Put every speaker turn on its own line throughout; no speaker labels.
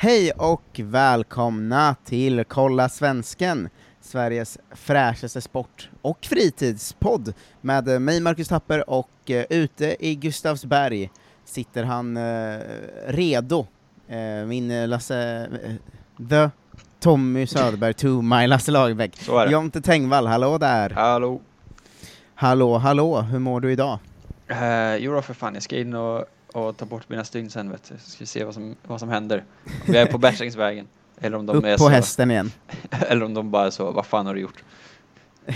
Hej och välkomna till Kolla Svensken, Sveriges fräschaste sport och fritidspodd med mig Marcus Tapper och eh, ute i Gustavsberg sitter han eh, redo, eh, min eh, Lasse, eh, the Tommy Söderberg to my Lasse Lagerbäck.
Så är det.
Jonte Tengvall, hallå där!
Hallå.
Hallå, hallå, hur mår du idag?
Uh, jo då för fan, jag ska in och, och ta bort mina stygn sen vet du. Så ska vi se vad som, vad som händer. Om jag är på bätringsvägen. Eller om de
Upp
är
på
så,
hästen igen.
Eller om de bara är så, vad fan har du gjort?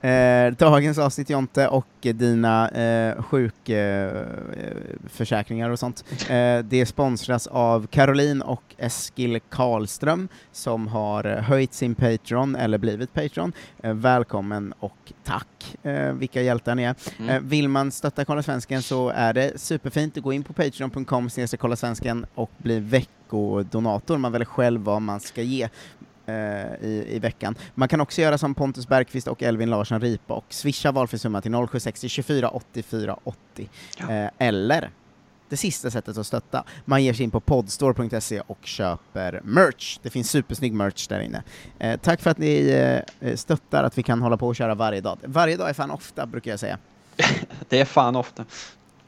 Eh, dagens avsnitt Jonte och dina eh, sjukförsäkringar eh, försäkringar och sånt, eh, det sponsras av Caroline och Eskil Karlström som har höjt sin Patreon, eller blivit Patreon. Eh, välkommen och tack, eh, vilka hjältar ni är.
Mm.
Eh, vill man stötta Kolla Svensken så är det superfint att gå in på patreon.com snedstreck Kolla Svensken och bli veckodonator. Man väljer själv vad man ska ge eh, i, i veckan. Man kan också göra som Pontus Bergqvist och Elvin Larsson Ripa och swisha valfri summa till 0760 24 84 80.
Ja.
Eh, eller det sista sättet att stötta, man ger sig in på podstore.se och köper merch. Det finns supersnygg merch där inne. Eh, tack för att ni eh, stöttar att vi kan hålla på och köra varje dag. Varje dag är fan ofta, brukar jag säga.
Det är fan ofta.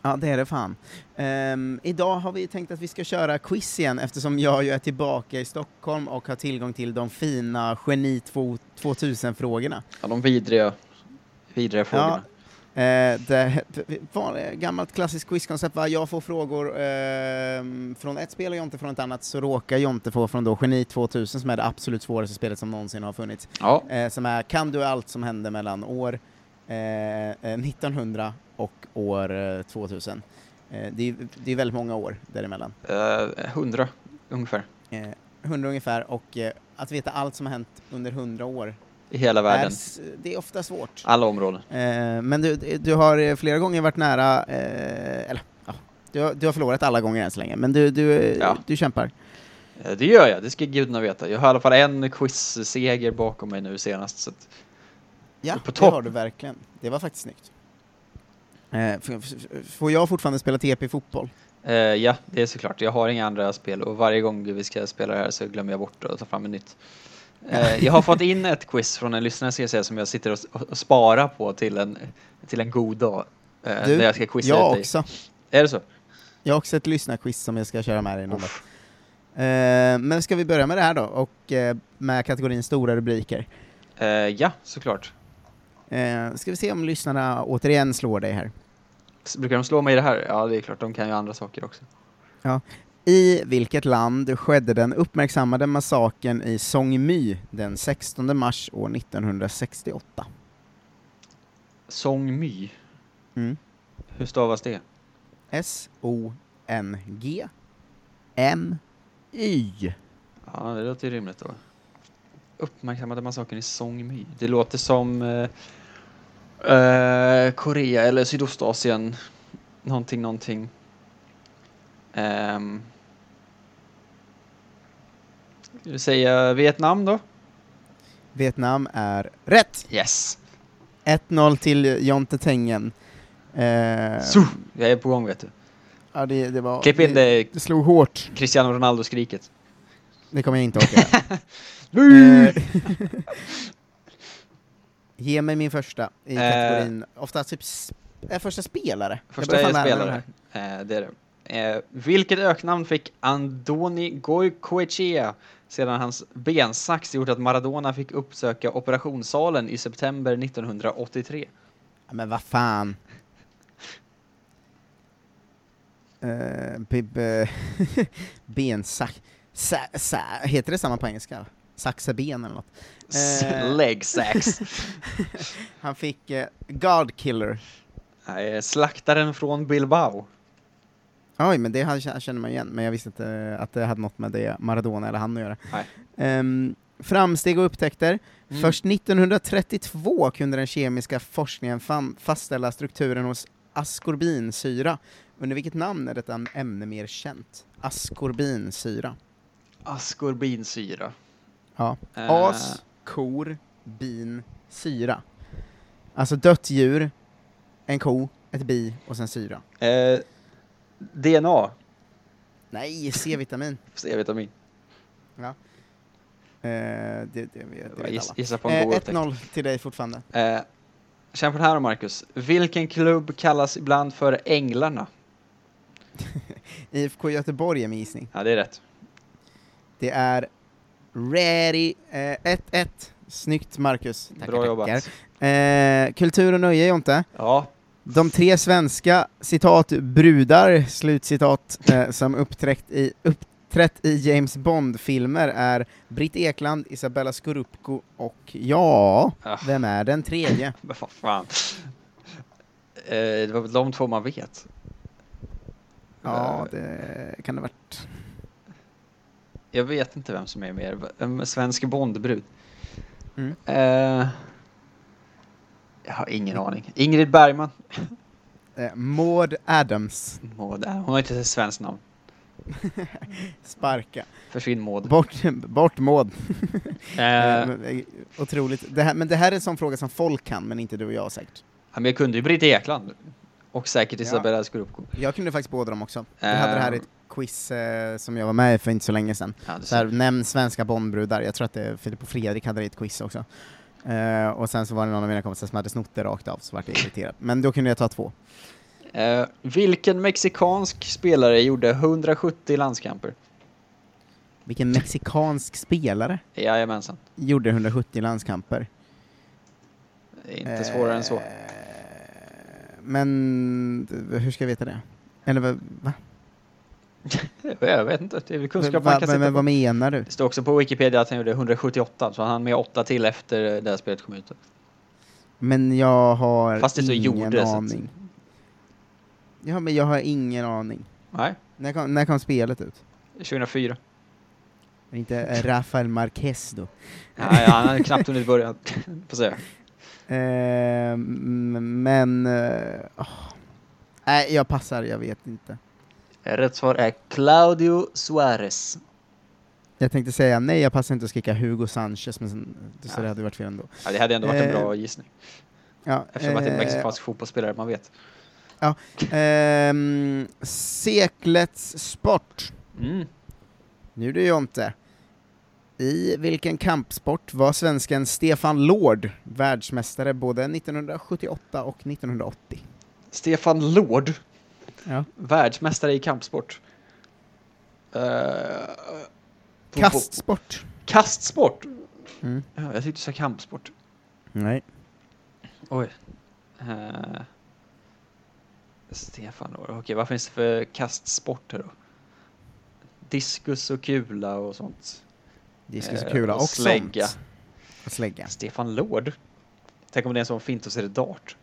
Ja, det är det fan. Ehm, idag har vi tänkt att vi ska köra quiz igen eftersom jag ju är tillbaka i Stockholm och har tillgång till de fina Geni 2000-frågorna.
Ja, de vidriga, vidriga frågorna.
Eh, det var ett gammalt klassiskt quizkoncept, va? jag får frågor ehm, från ett spel och Jonte från ett annat, så råkar Jonte få från då Geni 2000 som är det absolut svåraste spelet som någonsin har funnits.
Ja.
Eh, som är Kan du allt som hände mellan år eh, eh, 1900 och år eh, 2000? Eh, det, är, det är väldigt många år däremellan.
Eh, Hundra, ungefär.
Eh, 100 ungefär, och eh, att veta allt som har hänt under 100 år,
I hela
är,
världen. Ah.
s- det är ofta svårt.
Alla områden.
Eh, men du, du har eh, flera gånger varit nära, eh, eller ja, du, har- du har förlorat alla gånger än så länge, men du, du, eh,
Ja.
du kämpar.
Eh, det gör jag, det ska gudarna veta. Jag har i alla fall en quizseger bakom mig nu senast. Så att,
Ja,
På
det
topp.
har du verkligen. Det var faktiskt snyggt. Eh, f- f- får jag fortfarande spela TP i fotboll?
eh, ja, det är såklart. Jag har inga andra spel och varje gång vi ska spela det här så glömmer jag bort att ta fram ett nytt. Eh, jag har fått in ett quiz från en lyssnare ska jag säga, som jag sitter och, s- och sparar på till en, till en god dag. Eh,
Du,
när jag ska quizza ut
Jag
dig.
också.
Är det så?
Jag har också ett lyssnarquiz som jag ska köra med dig någon dag. Eh, men ska vi börja med det här då, och eh, med kategorin stora rubriker.
Eh, ja, såklart.
Eh, ska vi se om lyssnarna återigen slår dig här.
S- Brukar de slå mig i det här? Ja, det är klart. De kan ju andra saker också.
I vilket land skedde den uppmärksammade massakern i Song My den 16 mars år 1968?
Song My.
Mm.
Hur stavas det?
S-O-N-G M-Y.
Ja, det låter ju rimligt då. Uppmärksammade massakern i Song My. Det låter som eh, eh, Korea eller Sydostasien. Någonting, någonting. Ehm. Ska vi säga Vietnam då?
Vietnam är rätt!
Yes!
1-0 till Jonte Tengen. Eh,
Så, jag är på gång vet du.
ja, det, det var...
Klipp in
det.
det
Det slog hårt.
Cristiano Ronaldo-skriket.
Det kommer jag inte att göra.
Eh,
Eh, Ge mig min första i
Eh.
kategorin, ofta typ sp- eh, första spelare. Jag
Första
börjar fan
är
lära mig
spelare. Eh, det är det. Eh, vilket öknamn fick Andoni Goicoechea sedan hans bensax gjort att Maradona fick uppsöka operationssalen i september 1983?
Ja, Men vad fan. Uh, bib, uh, bensax... Sa, sa, heter det samma på engelska? Saxa ben eller något. Eh.
Eh. Leg sax.
Han fick eh, God Killer.
Eh, slaktaren från Bilbao.
Oj, men det hade- känner man igen, men jag visste inte att det hade något med det Maradona eller han att göra.
Nej.
Ehm, framsteg och upptäckter.
Mm.
Först 1932 kunde den kemiska forskningen fam- fastställa strukturen hos askorbinsyra. Under vilket namn är detta ämne mer känt? Askorbinsyra.
Askorbinsyra.
Ja.
Eh,
As, kor, bin, syra. Alltså dött djur, en ko, ett bi och sen syra.
Eh, DNA.
Nej, C-vitamin.
C-vitamin.
Ja. Eh, det, det, det
Jag
vet
giss-
alla.
Gissa på en
Eh,
god upptäckt.
1-0 till dig fortfarande.
Eh, Känn på den här då, Marcus. Vilken klubb kallas ibland för Änglarna?
IFK Göteborg är min gissning.
Ja, det är rätt.
Det är Ready eh, 1-1. Snyggt Marcus. Tackar,
Bra jobbat.
tackar. Eh, kultur och nöje Jonte.
Ja,
De tre svenska, citat, brudar, slutcitat, eh, som uppträtt i, uppträtt i James Bond-filmer är Britt Ekland, Isabella Scorupco och ja,
Ah.
vem är den tredje?
men vad fan. Eh, det var väl de två man vet.
Ja,
Eh,
det kan det ha varit.
Jag vet inte vem som är mer. En svensk Bondbrud.
Mm.
Eh, jag har ingen aning. Ingrid Bergman.
Eh, Maud Adams,
Maud, eh, hon har inte ett svenskt namn.
sparka.
Försvinn Maud.
Bort, bort Maud. Eh,
Eh,
men, eh, Otroligt. Det här, men det här är en sån fråga som folk kan, men inte du och jag säkert.
men jag kunde ju Britt Ekland. Och säkert
Ja.
Isabella Scorupco.
Jag kunde faktiskt båda dem också. Jag hade det här i
Ehm.
ett quiz eh, som jag var med i för inte så länge sedan.
Ja, det
Så här, nämn svenska Bondbrudar, jag tror att det är Filip och Fredrik hade det i ett quiz också. Eh, och sen så var det någon av mina kompisar som hade snott det rakt av, så vart jag irriterad. Men då kunde jag ta två.
Eh, vilken mexikansk spelare gjorde 170 landskamper?
Vilken mexikansk spelare
Jajamensan.
gjorde 170 landskamper?
Det är Inte svårare än så.
Eh, Men d- hur ska jag veta det? Eller vad- va?
Jag vet inte, det är väl kunskap
va,
man
Eh. men,
kan sätta
men,
på.
vad menar du?
Det står också på Wikipedia att han gjorde 178, så han hann med 8 till efter eh, det här spelet kom ut.
Men jag har
Fast det så
ingen
gjorde, så att-
aning. Ja, men jag har ingen aning.
Nej,
När kom, när kom spelet ut?
2004.
Inte Rafael Marquez då?
Nej, han hade knappt hunnit börja. Får se.
Eh, m- men... eh, åh. Nej, jag passar, jag vet inte.
Rätt svar är Claudio Suarez.
Jag tänkte säga nej, jag passar inte att skrika Hugo Sanchez, men sen, så
Ja.
det hade varit fel ändå.
Ja, det hade ändå varit en
Eh,
bra gissning,
Ja,
eftersom att det är en
eh,
mexikansk fotbollsspelare man vet.
ehm, seklets sport.
Mm.
Nu du Jonte. I vilken kampsport var svensken Stefan Lord världsmästare både 1978 och 1980?
Stefan Lord,
Ja.
världsmästare i kampsport. Eh, på-
Kastsport.
Kastsport?
Mm.
Ja, jag tyckte du sa kampsport.
Nej.
Oj. Eh, Stefan då. Okej, vad finns det för kastsporter då? Diskus och kula och sånt.
Diskus och
Eh,
kula
och
och,
slägga.
sånt. Och slägga.
Stefan Lord? Tänk om det är en sån fint och så är det dart.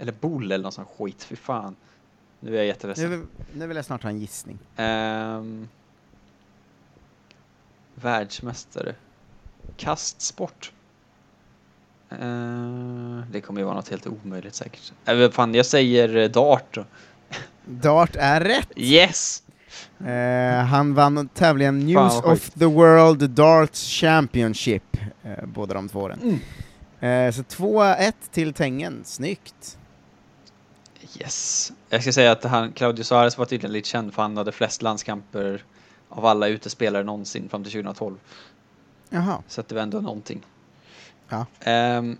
Eller boll eller någon sån skit, fy fan. Nu är jag
Nu,
jätteledsen.
vill- nu vill jag snart ha en gissning.
Ehm, världsmästare. Kastsport. Ehm, det kommer ju vara något helt omöjligt säkert. Äh, vad fan, jag säger eh, dart då.
Dart är rätt!
Yes!
Eh, han vann tävlingen News
vad
of the World Darts Championship, eh, båda de två åren.
Mm.
Eh, så 2-1 till Tängen, snyggt!
Yes. Jag ska säga att han, Claudio Suarez var tydligen lite känd för han hade flest landskamper av alla utespelare någonsin fram till 2012.
Jaha,
Så att det var ändå någonting.
Ja.
Ehm,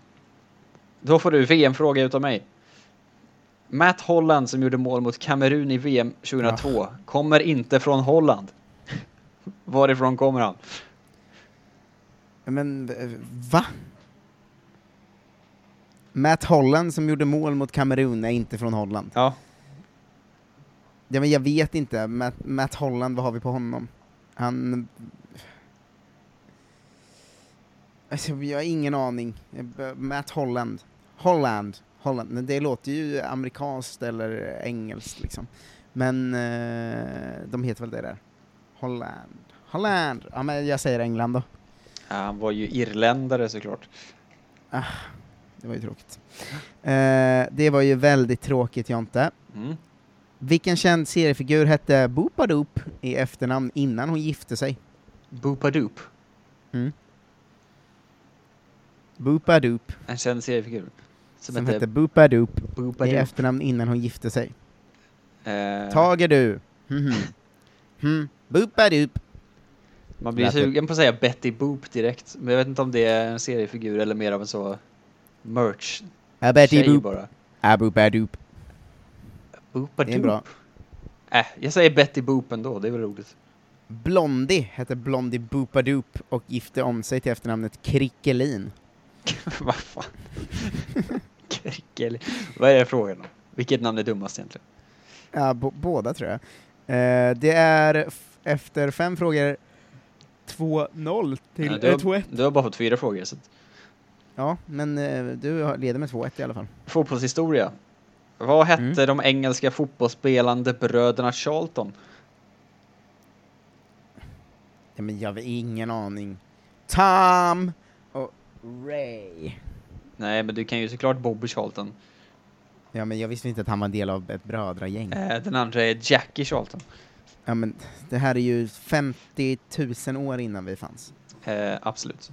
då får du VM-fråga utav mig. Matt Holland som gjorde mål mot Kamerun i VM 2002 kommer inte från Holland. Varifrån kommer han?
men eh, va? Matt Holland som gjorde mål mot Kamerun är inte från Holland.
Ja,
Ja, men jag vet inte, Matt, Matt Holland, vad har vi på honom? Han... Alltså, jag har ingen aning. Matt Holland. Holland. Holland. Men Det låter ju amerikanskt eller engelskt liksom. Men eh, de heter väl det där? Holland. Holland! Ja, men jag säger England då.
han var ju irländare såklart.
Det var ju tråkigt. Eh, det var ju väldigt tråkigt, Jonte.
Mm.
Vilken känd seriefigur hette Boopadoop i efternamn innan hon gifte sig?
Boopadoop,
Mm. Boopadoop,
en känd seriefigur. Som,
som,
som
hette
hette
Boopadoop i
Boopadoop.
efternamn innan hon gifte sig.
Ehm,
Tager du Mhm. Hmm. Boop badoop.
Man blir
Lät det-
sugen på att säga Betty Boop direkt. Men jag vet inte om det är en seriefigur eller mer av en så merch-tjej
Abaddy boop.
bara.
Abu badoop.
Boopa
Det är bra.
Äh, jag säger Betty Boop ändå, det är väl roligt.
Blondie hette Blondie Boopadoop och gifte om sig till efternamnet Krickelin.
Vad fan? Krickel. Vad är det frågan om? Vilket namn är dummast egentligen?
Ja, bo- båda tror jag. Eh, det är f- efter fem frågor 2-0 till...
Ja,
Ja,
du,
äh,
har,
2-1.
du har bara fått fyra frågor. Så att,
Ja, men eh, du har- leder med 2-1 i alla fall.
fotbollshistoria. Vad hette
Mm.
de engelska fotbollsspelande bröderna Charlton?
Ja, men jag har ingen aning. Tom och Ray.
Nej, men du kan ju såklart Bobby Charlton.
Ja, men jag visste inte att han var en del av ett brödragäng.
Eh, den andra är Jackie Charlton.
Ja, men det här är ju 50 000 år innan vi fanns.
Eh, absolut.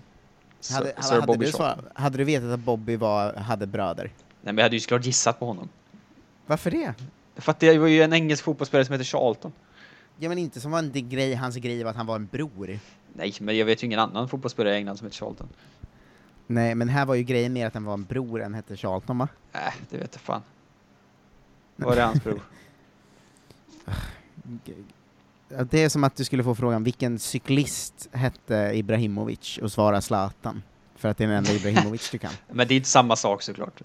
Sir,
Hade,
Sir
hade, hade,
Bobby
du
Charlton.
svar, hade du vetat att Bobby var, hade bröder?
Nej, men jag hade ju såklart gissat på honom.
Varför det?
För att det var ju en engelsk fotbollsspelare som heter Charlton.
Ja, men inte som var en det grej, hans grej var att han var en bror.
Nej, men jag vet ju ingen annan fotbollsspelare i England som heter Charlton.
Nej, men här var ju grejen mer att han var en bror än hette Charlton, va?
Nej, Äh, det vet jag fan. Var är hans bror?
Ja, Det är som att du skulle få frågan vilken cyklist hette Ibrahimovic och svara Zlatan. För att det är den enda Ibrahimovic du kan.
Men det är inte samma sak såklart.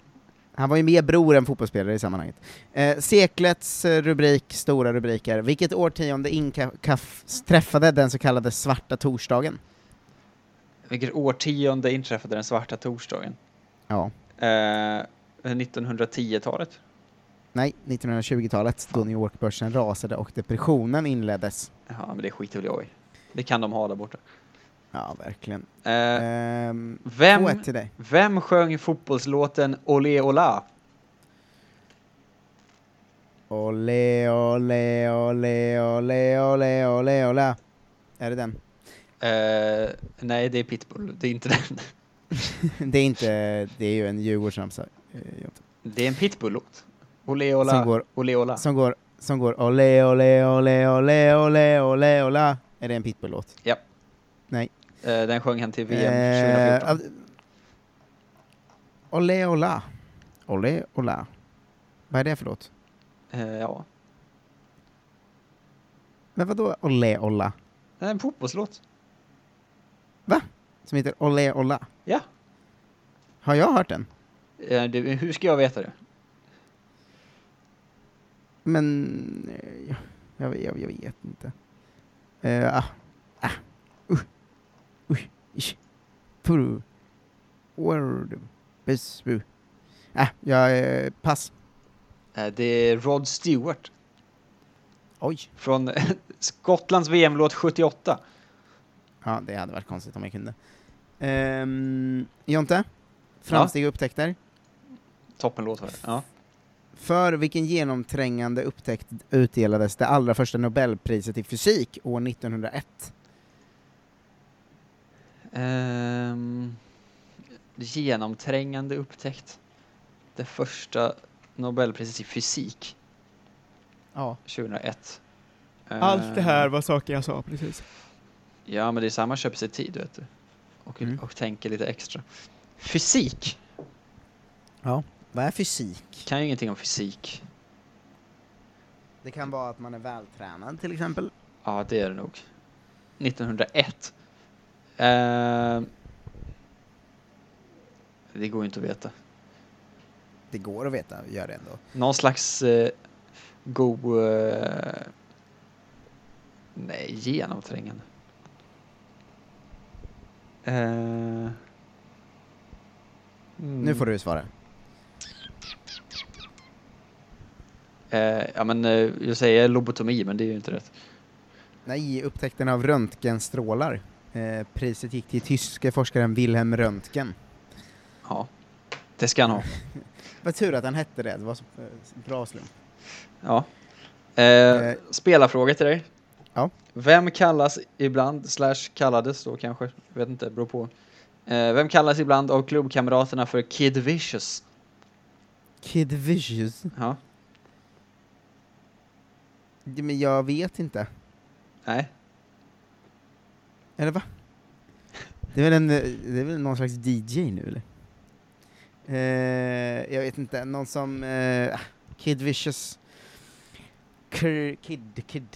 Han var ju mer bror än fotbollsspelare i sammanhanget. Eh, seklets eh, rubrik, stora rubriker. Vilket årtionde Incaf träffade den så kallade svarta torsdagen?
Vilket årtionde inträffade den svarta torsdagen?
Ja.
Eh, 1910-talet?
Nej, 1920-talet då New York-börsen rasade och depressionen inleddes.
Ja, men det skiter väl jag i. Det kan de ha där borta.
Ja, verkligen.
Eh,
Ehm,
vem,
2-1 till dig.
vem sjöng fotbollslåten Olé Ola?
Ole, ole, ole, ole, ole, ole, ole. Är det den?
Eh, nej, det är Pitbull. Det är inte den.
det är inte, det är ju en Djurgårdsramsa. eh,
Det är en Pitbull-låt. Olé
Som
Ola,
går-
Olé Ola.
Som går, som går ole, ole, ole, ole, ole, ole, ole. Är det en Pitbull-låt?
Ja.
Nej.
Eh, den sjöng han till VM
Eh,
2014.
av- ole, ola. Ole, ola. Vad är det för låt?
Eh, ja.
Men vadå ole, ola?
Det är en fotbollslåt.
Som heter ole, ola?
Ja.
Har jag hört den?
Eh, det, hur ska jag veta det?
Men... eh, jag- Jag, jag, jag vet inte. Eh, ah. Ah. Uh. Usch. Ish. Puru. Word. Besbu. Ah, jag... eh, Pass.
Eh, det är Rod Stewart
Oj.
från Skottlands VM-låt 78.
Ja, det hade varit konstigt om jag kunde. Ehm, Jonte? Framsteg och upptäckter?
Toppenlåt var det. Ja.
För vilken genomträngande upptäckt utdelades det allra första Nobelpriset i fysik år 1901?
Ehm, genomträngande upptäckt. Det första Nobelpriset i fysik
Ja.
2001.
Allt det här
Ehm,
var saker jag sa precis.
Ja, men det är samma köper sig tid, vet du. Och,
Mm.
och tänker lite extra. Fysik!
Vad är fysik?
Kan ju ingenting om fysik.
Det kan vara att man är vältränad till exempel.
Ja, det är det nog. 1901. Ehm, det går ju inte att veta.
Det går att veta, gör det ändå.
Någon slags eh, god... Eh, nej, genomträngande. Eh,
Nu får du svara.
Eh, ja, men eh, jag säger lobotomi, men det är ju inte rätt.
Nej, upptäckten av röntgenstrålar. Eh, priset gick till tyske forskaren Wilhelm Röntgen.
Ja, det ska han ha.
Vad tur att han hette det, det var så eh, bra slump.
Ja.
Eh,
Eh, spelarfråga till dig.
Ja.
Vem kallas ibland, slash kallades då kanske, jag vet inte, beror på. Eh, vem kallas ibland av klubbkamraterna för Kid Vicious?
Kid Vicious.
Ja.
Ja, Men jag vet inte.
Nej.
Eller va? Det är väl, en, eh, det är väl någon slags DJ nu eller? Eh, jag vet inte, någon som... Eh, ah, Kid Vicious... Kur, kid, Kid...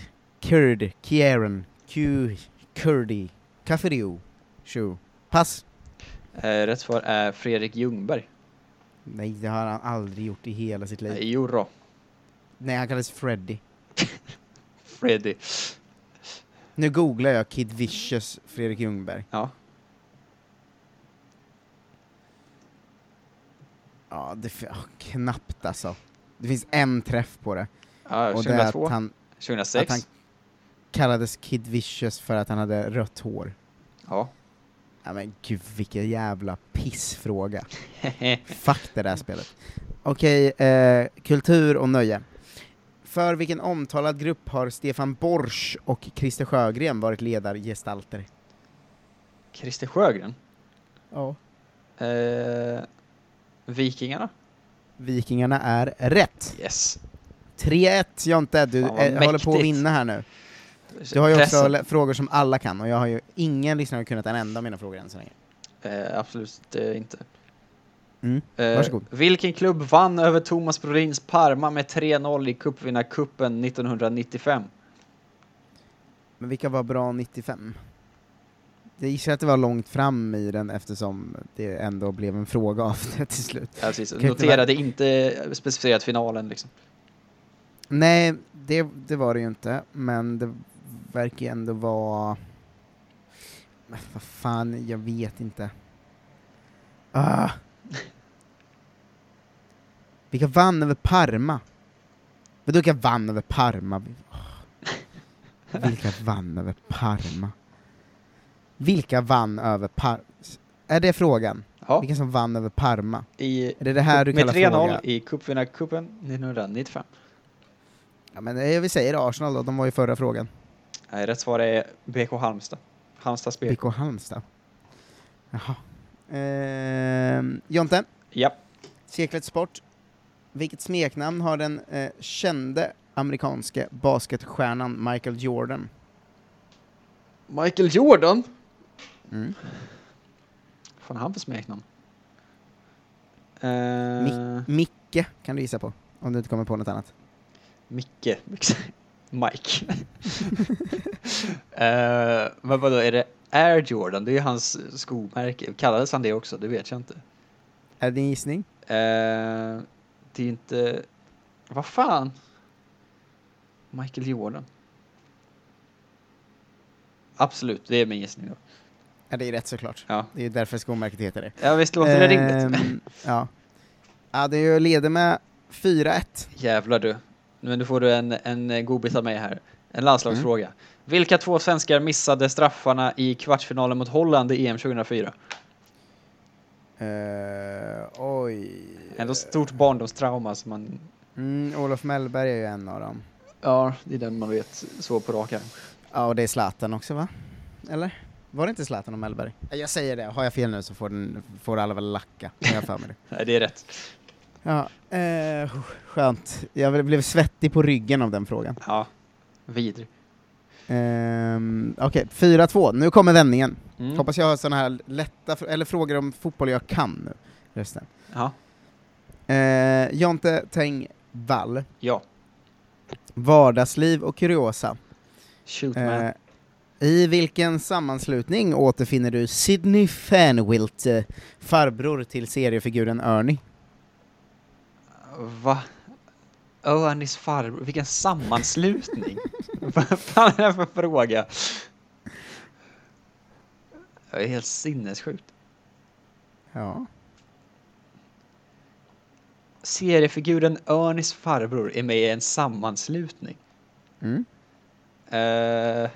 Kurd, Kieran, Q, Kurdi, Kafirio, Shu. Pass!
Eh, rätt svar är Fredrik Ljungberg.
Nej, det har han aldrig gjort i hela sitt liv.
Eh, jo då.
Nej, han kallas Freddy.
Freddy.
Nu googlar jag Kid Vicious Fredrik Ljungberg.
Ja.
Ja, det f- ja, knappt alltså. Det finns en träff på det.
ja
Och det är
2002,
att han,
2006.
att han- kallades Kid Vicious för att han hade rött hår.
Ja.
Ja, men gud vilken jävla pissfråga. Fuck det där spelet. Okej, eh, kultur och nöje. För vilken omtalad grupp har Stefan Borsch och Christer Sjögren varit ledargestalter?
Christer Sjögren.
Ja.
Eh, Vikingarna?
Vikingarna är rätt.
Yes.
3-1 Jonte, du
Fan, vad
eh, håller på att
mäktigt.
vinna här nu. Du har ju också
Pressen.
lä- frågor som alla kan, och jag har ju ingen lyssnare har kunnat en enda av mina frågor än så länge.
Eh, absolut eh, inte.
Mm.
Eh,
Varsågod.
Vilken klubb vann över Thomas Brolins Parma med 3-0 i cupvinnarcupen 1995?
Men vilka var bra 95? Jag gissar att det var långt fram i den eftersom det ändå blev en fråga av det till slut.
Ja, precis.
Kan inte
Noterade inte specificerat finalen liksom.
Nej, det, det var det ju inte, men det verkar ju ändå vara... Men vad fan, jag vet inte. Ah. Vilka vann över Parma? Vadå vilka vann över Parma? Ah. Vilka vann över Parma? Vilka vann över Parma? Är det frågan?
Ja,
Vilka som vann över Parma?
i,
Är det det här du
med
kallar
3-0
fråga?
i cupvinnarcupen 1995.
Ja, men eh, vi säger Arsenal då, de var ju förra frågan.
Nej, rätt svar är BK Halmstad. Halmstads BK.
BK Halmstad. Jaha. Ehm, Jonte,
Ja,
seklets sport. Vilket smeknamn har den eh, kände amerikanske basketstjärnan Michael Jordan?
Michael Jordan?
Mm.
Vad fan har han för smeknamn? Eh,
Micke kan du gissa på, om du inte kommer på något annat.
Micke. Mike. Eh, men vadå, är det Air Jordan? Det är ju hans skomärke. Kallades han det också? Det vet jag inte.
Är det din gissning?
Eh, det är inte... Vad fan? Michael Jordan. Absolut, det är min gissning då.
Ja, det är rätt såklart.
Ja,
Det är därför skomärket heter det.
ja visst låter det rimligt?
Ehm, ja. ja, du leder med 4-1.
Jävlar du. Men nu får du en, en godbit av mig här. En landslagsfråga. Vilka två svenskar missade straffarna i kvartsfinalen mot Holland i EM 2004?
Ehm, oj.
Ändå stort barndomstrauma som man...
Mm, Olof Mellberg är ju en av dem.
Ja, det är den man vet så på rak arm.
Ja, och det är Zlatan också va? Eller? Var det inte Zlatan och Mellberg? Nej, Jag säger det, har jag fel nu så får, den, får alla väl lacka, men jag har för mig det.
Nej, det är rätt.
Ja, eh, skönt. Jag blev svettig på ryggen av den frågan.
Ja, vidrig.
Ehm, Okej, 4-2. Nu kommer vändningen.
Mm.
Hoppas jag har sådana här lätta, fr- eller frågor om fotboll jag kan nu. Resten.
Ja.
Eh, Jonte Tengvall,
ja.
Vardagsliv och kuriosa.
Shoot man.
Eh, I vilken sammanslutning återfinner du Sidney Fanwilt, eh, farbror till seriefiguren Ernie?
Va? Örnis farbror? Vilken sammanslutning! Vad fan är det för fråga? Det är helt sinnessjukt.
Ja.
Seriefiguren Örnis farbror är med i en sammanslutning.
Mm.
Eh,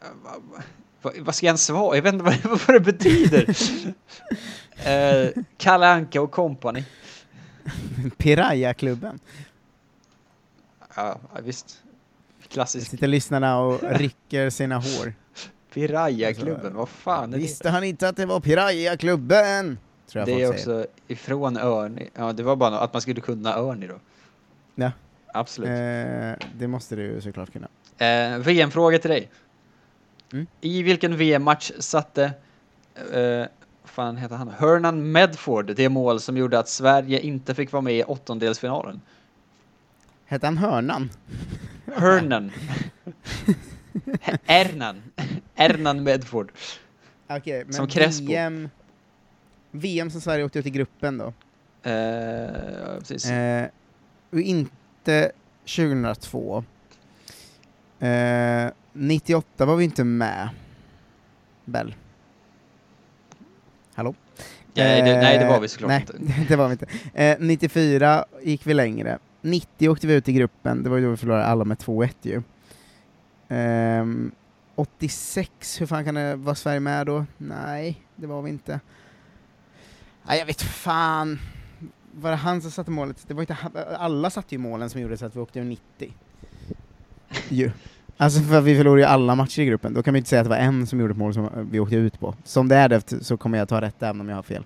va- va- va- vad ska jag ens svara? Jag vet inte vad, det- vad det betyder. uh, Kalle Anka och kompani.
Piraya-klubben.
Ja, ja, visst. Klassisk
Sitter lyssnarna och rycker sina hår.
Piraya-klubben, vad fan är det?
Visste han inte att det var Piraya-klubben? Tror jag
det
folk
är
säger.
också ifrån Örni. Ja, det var bara nå- att man skulle kunna Örni då.
Ja.
Absolut.
Eh, det måste du ju såklart kunna.
Eh, VM-fråga till dig.
Mm.
I vilken VM-match satte, eh, fan heter han, Hernan Medford det mål som gjorde att Sverige inte fick vara med i åttondelsfinalen?
Hette han Hörnan?
Hernan. Ernan. Ernan Medford.
Okej, men
Som Crespo.
VM, VM som Sverige åkte ut i gruppen då.
Eh, ja, precis.
Eh, och inte 2002. Eh, 98 var vi inte med. Bell. Hallå?
nej, det, nej, det var vi
Eh,
såklart
nej,
inte.
det var vi inte. Eh, 94 gick vi längre. 90 åkte vi ut i gruppen, det var ju då vi förlorade alla med 2-1 ju. Ehm, 86, hur fan kan det, var Sverige med då? Nej, det var vi inte. Nej, jag vet fan. Var det han som satte målet? Det var inte han, alla satte ju målen som gjorde så att vi åkte ur 90. Ju. Alltså för vi förlorade ju alla matcher i gruppen, då kan man ju inte säga att det var en som gjorde ett mål som vi åkte ut på. Som det är det så kommer jag ta rätt även om jag har fel.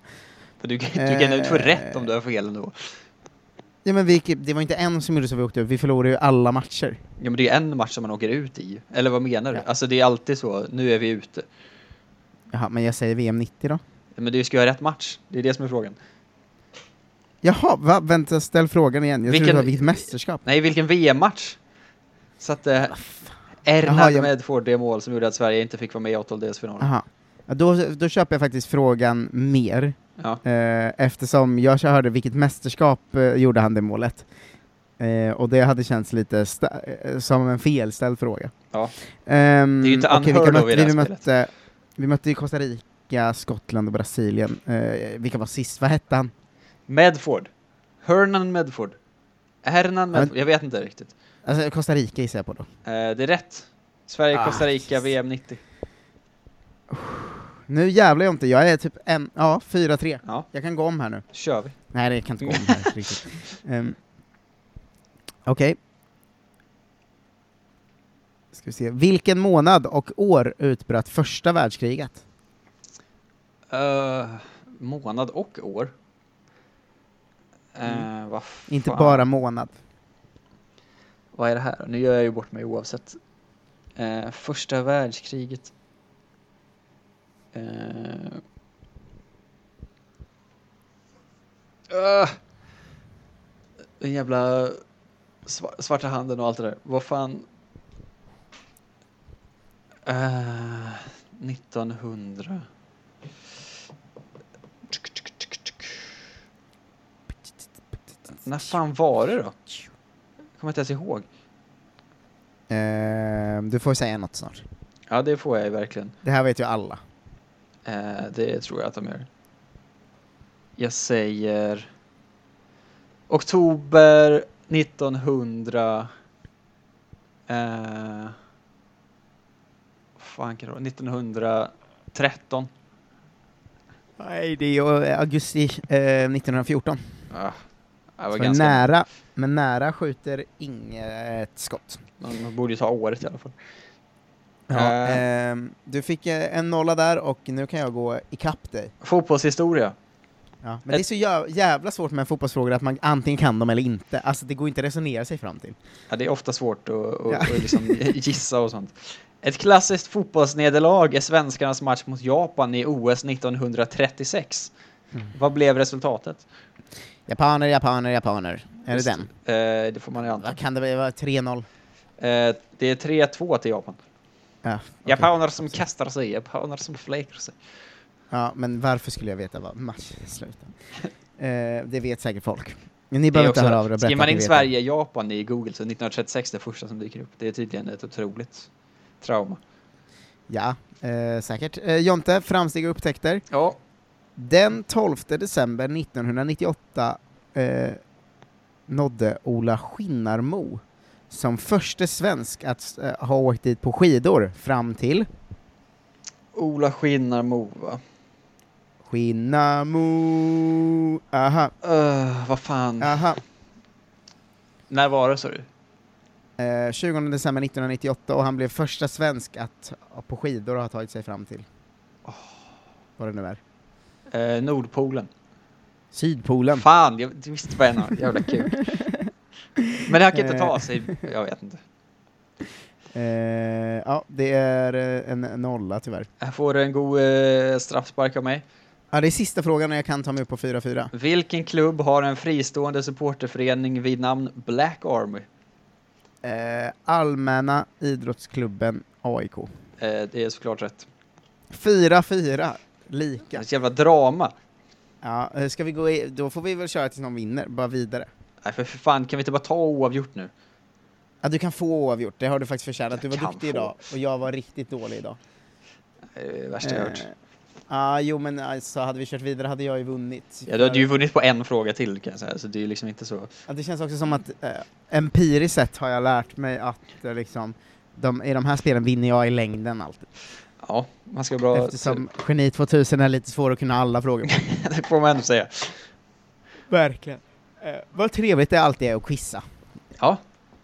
För Du, kan- du kan ju inte få
eh,
rätt om du har fel ändå.
Ja, men vi, gick- det var inte en som gjorde så vi åkte upp, vi förlorade ju alla matcher.
Ja, men det är en match som man åker ut i. Eller vad menar du?
Ja.
Alltså det är alltid så, nu är vi ute.
Jaha, men jag säger VM 90 då.
Men du ska ju ha rätt match, det är det som är frågan.
Jaha, va? vänta, ställ frågan igen. Jag
Vilken-
trodde det var vilket mästerskap.
Nej, vilken VM-match? Satte
Jaha,
Erna
jag-
eh, Medford det mål som gjorde att Sverige inte fick vara med i åttondelsfinalen.
Aha. Ja, då, då köper jag faktiskt frågan mer,
Ja.
eh, eftersom jag hörde vilket mästerskap eh, gjorde han det målet. Eh, och det hade känts lite sta- eh, som en felställd fråga.
Ja.
Ehm,
Det är ju inte
okej, vilka
unheard of
mötte
i det här
vi, vi,
spelet.
mötte, vi mötte ju Costa Rica, Skottland och Brasilien. Eh, vilka var sist? Vad hette han?
Medford. Hernan Medford. Hernan
men-
Medford. Jag vet inte riktigt.
Alltså, Costa Rica gissar jag på då.
Eh, det är rätt. Sverige,
Ah,
Costa Rica,
yes.
VM 90.
Nu jävlar jag inte, jag är typ en, ja, 4-3.
Ja,
Jag kan gå om här nu.
kör vi.
Nej, det kan inte gå om här riktigt. Ehm, Okej. Ska vi se. Vilken månad och år utbröt första världskriget?
Eh, månad och år. Eh, vad fan.
Inte bara månad.
Vad är det här? Nu gör jag ju bort mig oavsett. Eh, första världskriget. Eh. Ah! Den jävla sva- svarta handen och allt det där. Vad fan? Eh, 1900. När fan var det då? Kommer inte ens ihåg.
Ehm, du får säga något snart.
Ja, det får jag ju verkligen.
Det här vet ju alla.
Eh, det tror jag att de gör. Jag säger oktober 1900... Eh, vad fan kan det vara? 1913.
Nej, det är ju eh, augusti eh, 1914.
Ah, det var
Så
ganska...
nära, men nära skjuter inget skott.
Man man borde ju ta året i alla fall.
Ja,
Eh.
ehm, du fick eh, en nolla där och nu kan jag gå ikapp dig.
Fotbollshistoria.
Ja, men det är så jä- jävla svårt med fotbollsfrågor att man antingen kan dem eller inte. Alltså det går inte att resonera sig fram till.
Ja, det är ofta svårt att att-
Ja.
att liksom gissa och sånt. Ett klassiskt fotbollsnederlag är svenskarnas match mot Japan i OS 1936.
Mm.
Vad blev resultatet?
Japaner, japaner, japaner. Är
Just-
det den?
Eh, det får man ju anta.
Vad kan det vara? 3-0?
Eh, det är 3-2 till Japan.
Ja, okej.
Japaner som kastar sig, japaner som fläker sig.
ja, men varför skulle jag veta vad matchen slutar? eh, det vet säkert folk. Men ni
Det är
behöver inte
också-
höra av er och berätta
Skriver man
att ni
in
vet
Sverige, Japan i Google så är 1936 det första som dyker upp. Det är tydligen ett otroligt trauma.
det. Ja, eh, säkert. Eh, Jonte, framsteg och upptäckter.
Ja,
Den 12 december 1998 eh, nådde Ola Skinnarmo som förste svensk att eh, ha åkt dit på skidor fram till
Ola Skinnarmo va?
Skinnarmo. Aha,
Öh, vad fan.
aha.
När var det sa du?
Eh, 20 december 1998 och han blev första svensk att ha- på skidor ha tagit sig fram till. Vad det nu är.
Eh, Nordpolen.
Sydpolen.
Fan, jag visste vad en av. Jävla kul. Men han kan inte ta sig, jag vet inte.
Eh, ja, det är eh, en nolla tyvärr.
Här får du en god eh, straffspark av mig.
Ja, det är sista frågan och jag kan ta mig upp på 4-4.
Vilken klubb har en fristående supporterförening vid namn Black Army?
Eh, allmänna idrottsklubben AIK.
Eh, det är såklart rätt.
4-4, lika.
Ett jävla drama.
Ja, eh, ska vi gå i, då får vi väl köra tills någon vinner, bara vidare.
Nej för för fan, kan vi inte bara ta oavgjort nu?
Ja, du kan få oavgjort, det har du faktiskt förtjänat. Du
Jag
var
kan
duktig
få.
idag, och jag var riktigt dålig idag.
Eh, Det är det värsta jag har hört.
Eh, Ja, jo men alltså hade vi kört vidare hade jag ju vunnit.
Ja, du hade ju vunnit på en fråga till kan jag säga, så det är ju liksom inte så.
Ja, det känns också som att eh, empiriskt sett har jag lärt mig att eh, liksom, de, i de här spelen vinner jag i längden alltid.
Ja, man ska bra...
Eftersom Geni 2000 är lite svår att kunna alla frågor.
det får man ändå säga.
Verkligen. Eh, vad trevligt det alltid är att quizza.
Ja,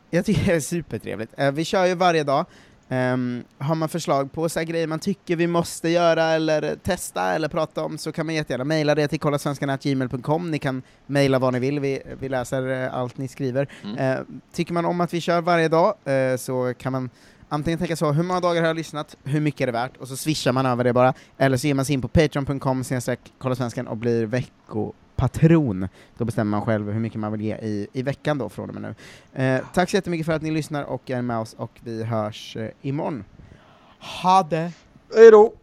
Jag tycker det är supertrevligt. Eh, vi kör ju varje dag. Ehm, har man förslag på så här grejer man tycker vi måste göra eller testa eller prata om så kan man jättegärna mejla det till kollasvenskarna.gmail.com. Ni kan mejla vad ni vill, vi, vi läser eh, allt ni skriver.
Mm.
Eh, tycker man om att vi kör varje dag eh, så kan man antingen tänka så, hur många dagar har jag lyssnat, hur mycket är det värt? Och så swishar man över det bara. Eller så ger man sig in på patreon.com snedstreck kollasvenskan och blir veckopatron. Då bestämmer man själv hur mycket man vill ge i, i veckan då från och med nu. Eh, tack så jättemycket för att ni lyssnar och är med oss och vi hörs eh, imorgon. Ha det!
hej då!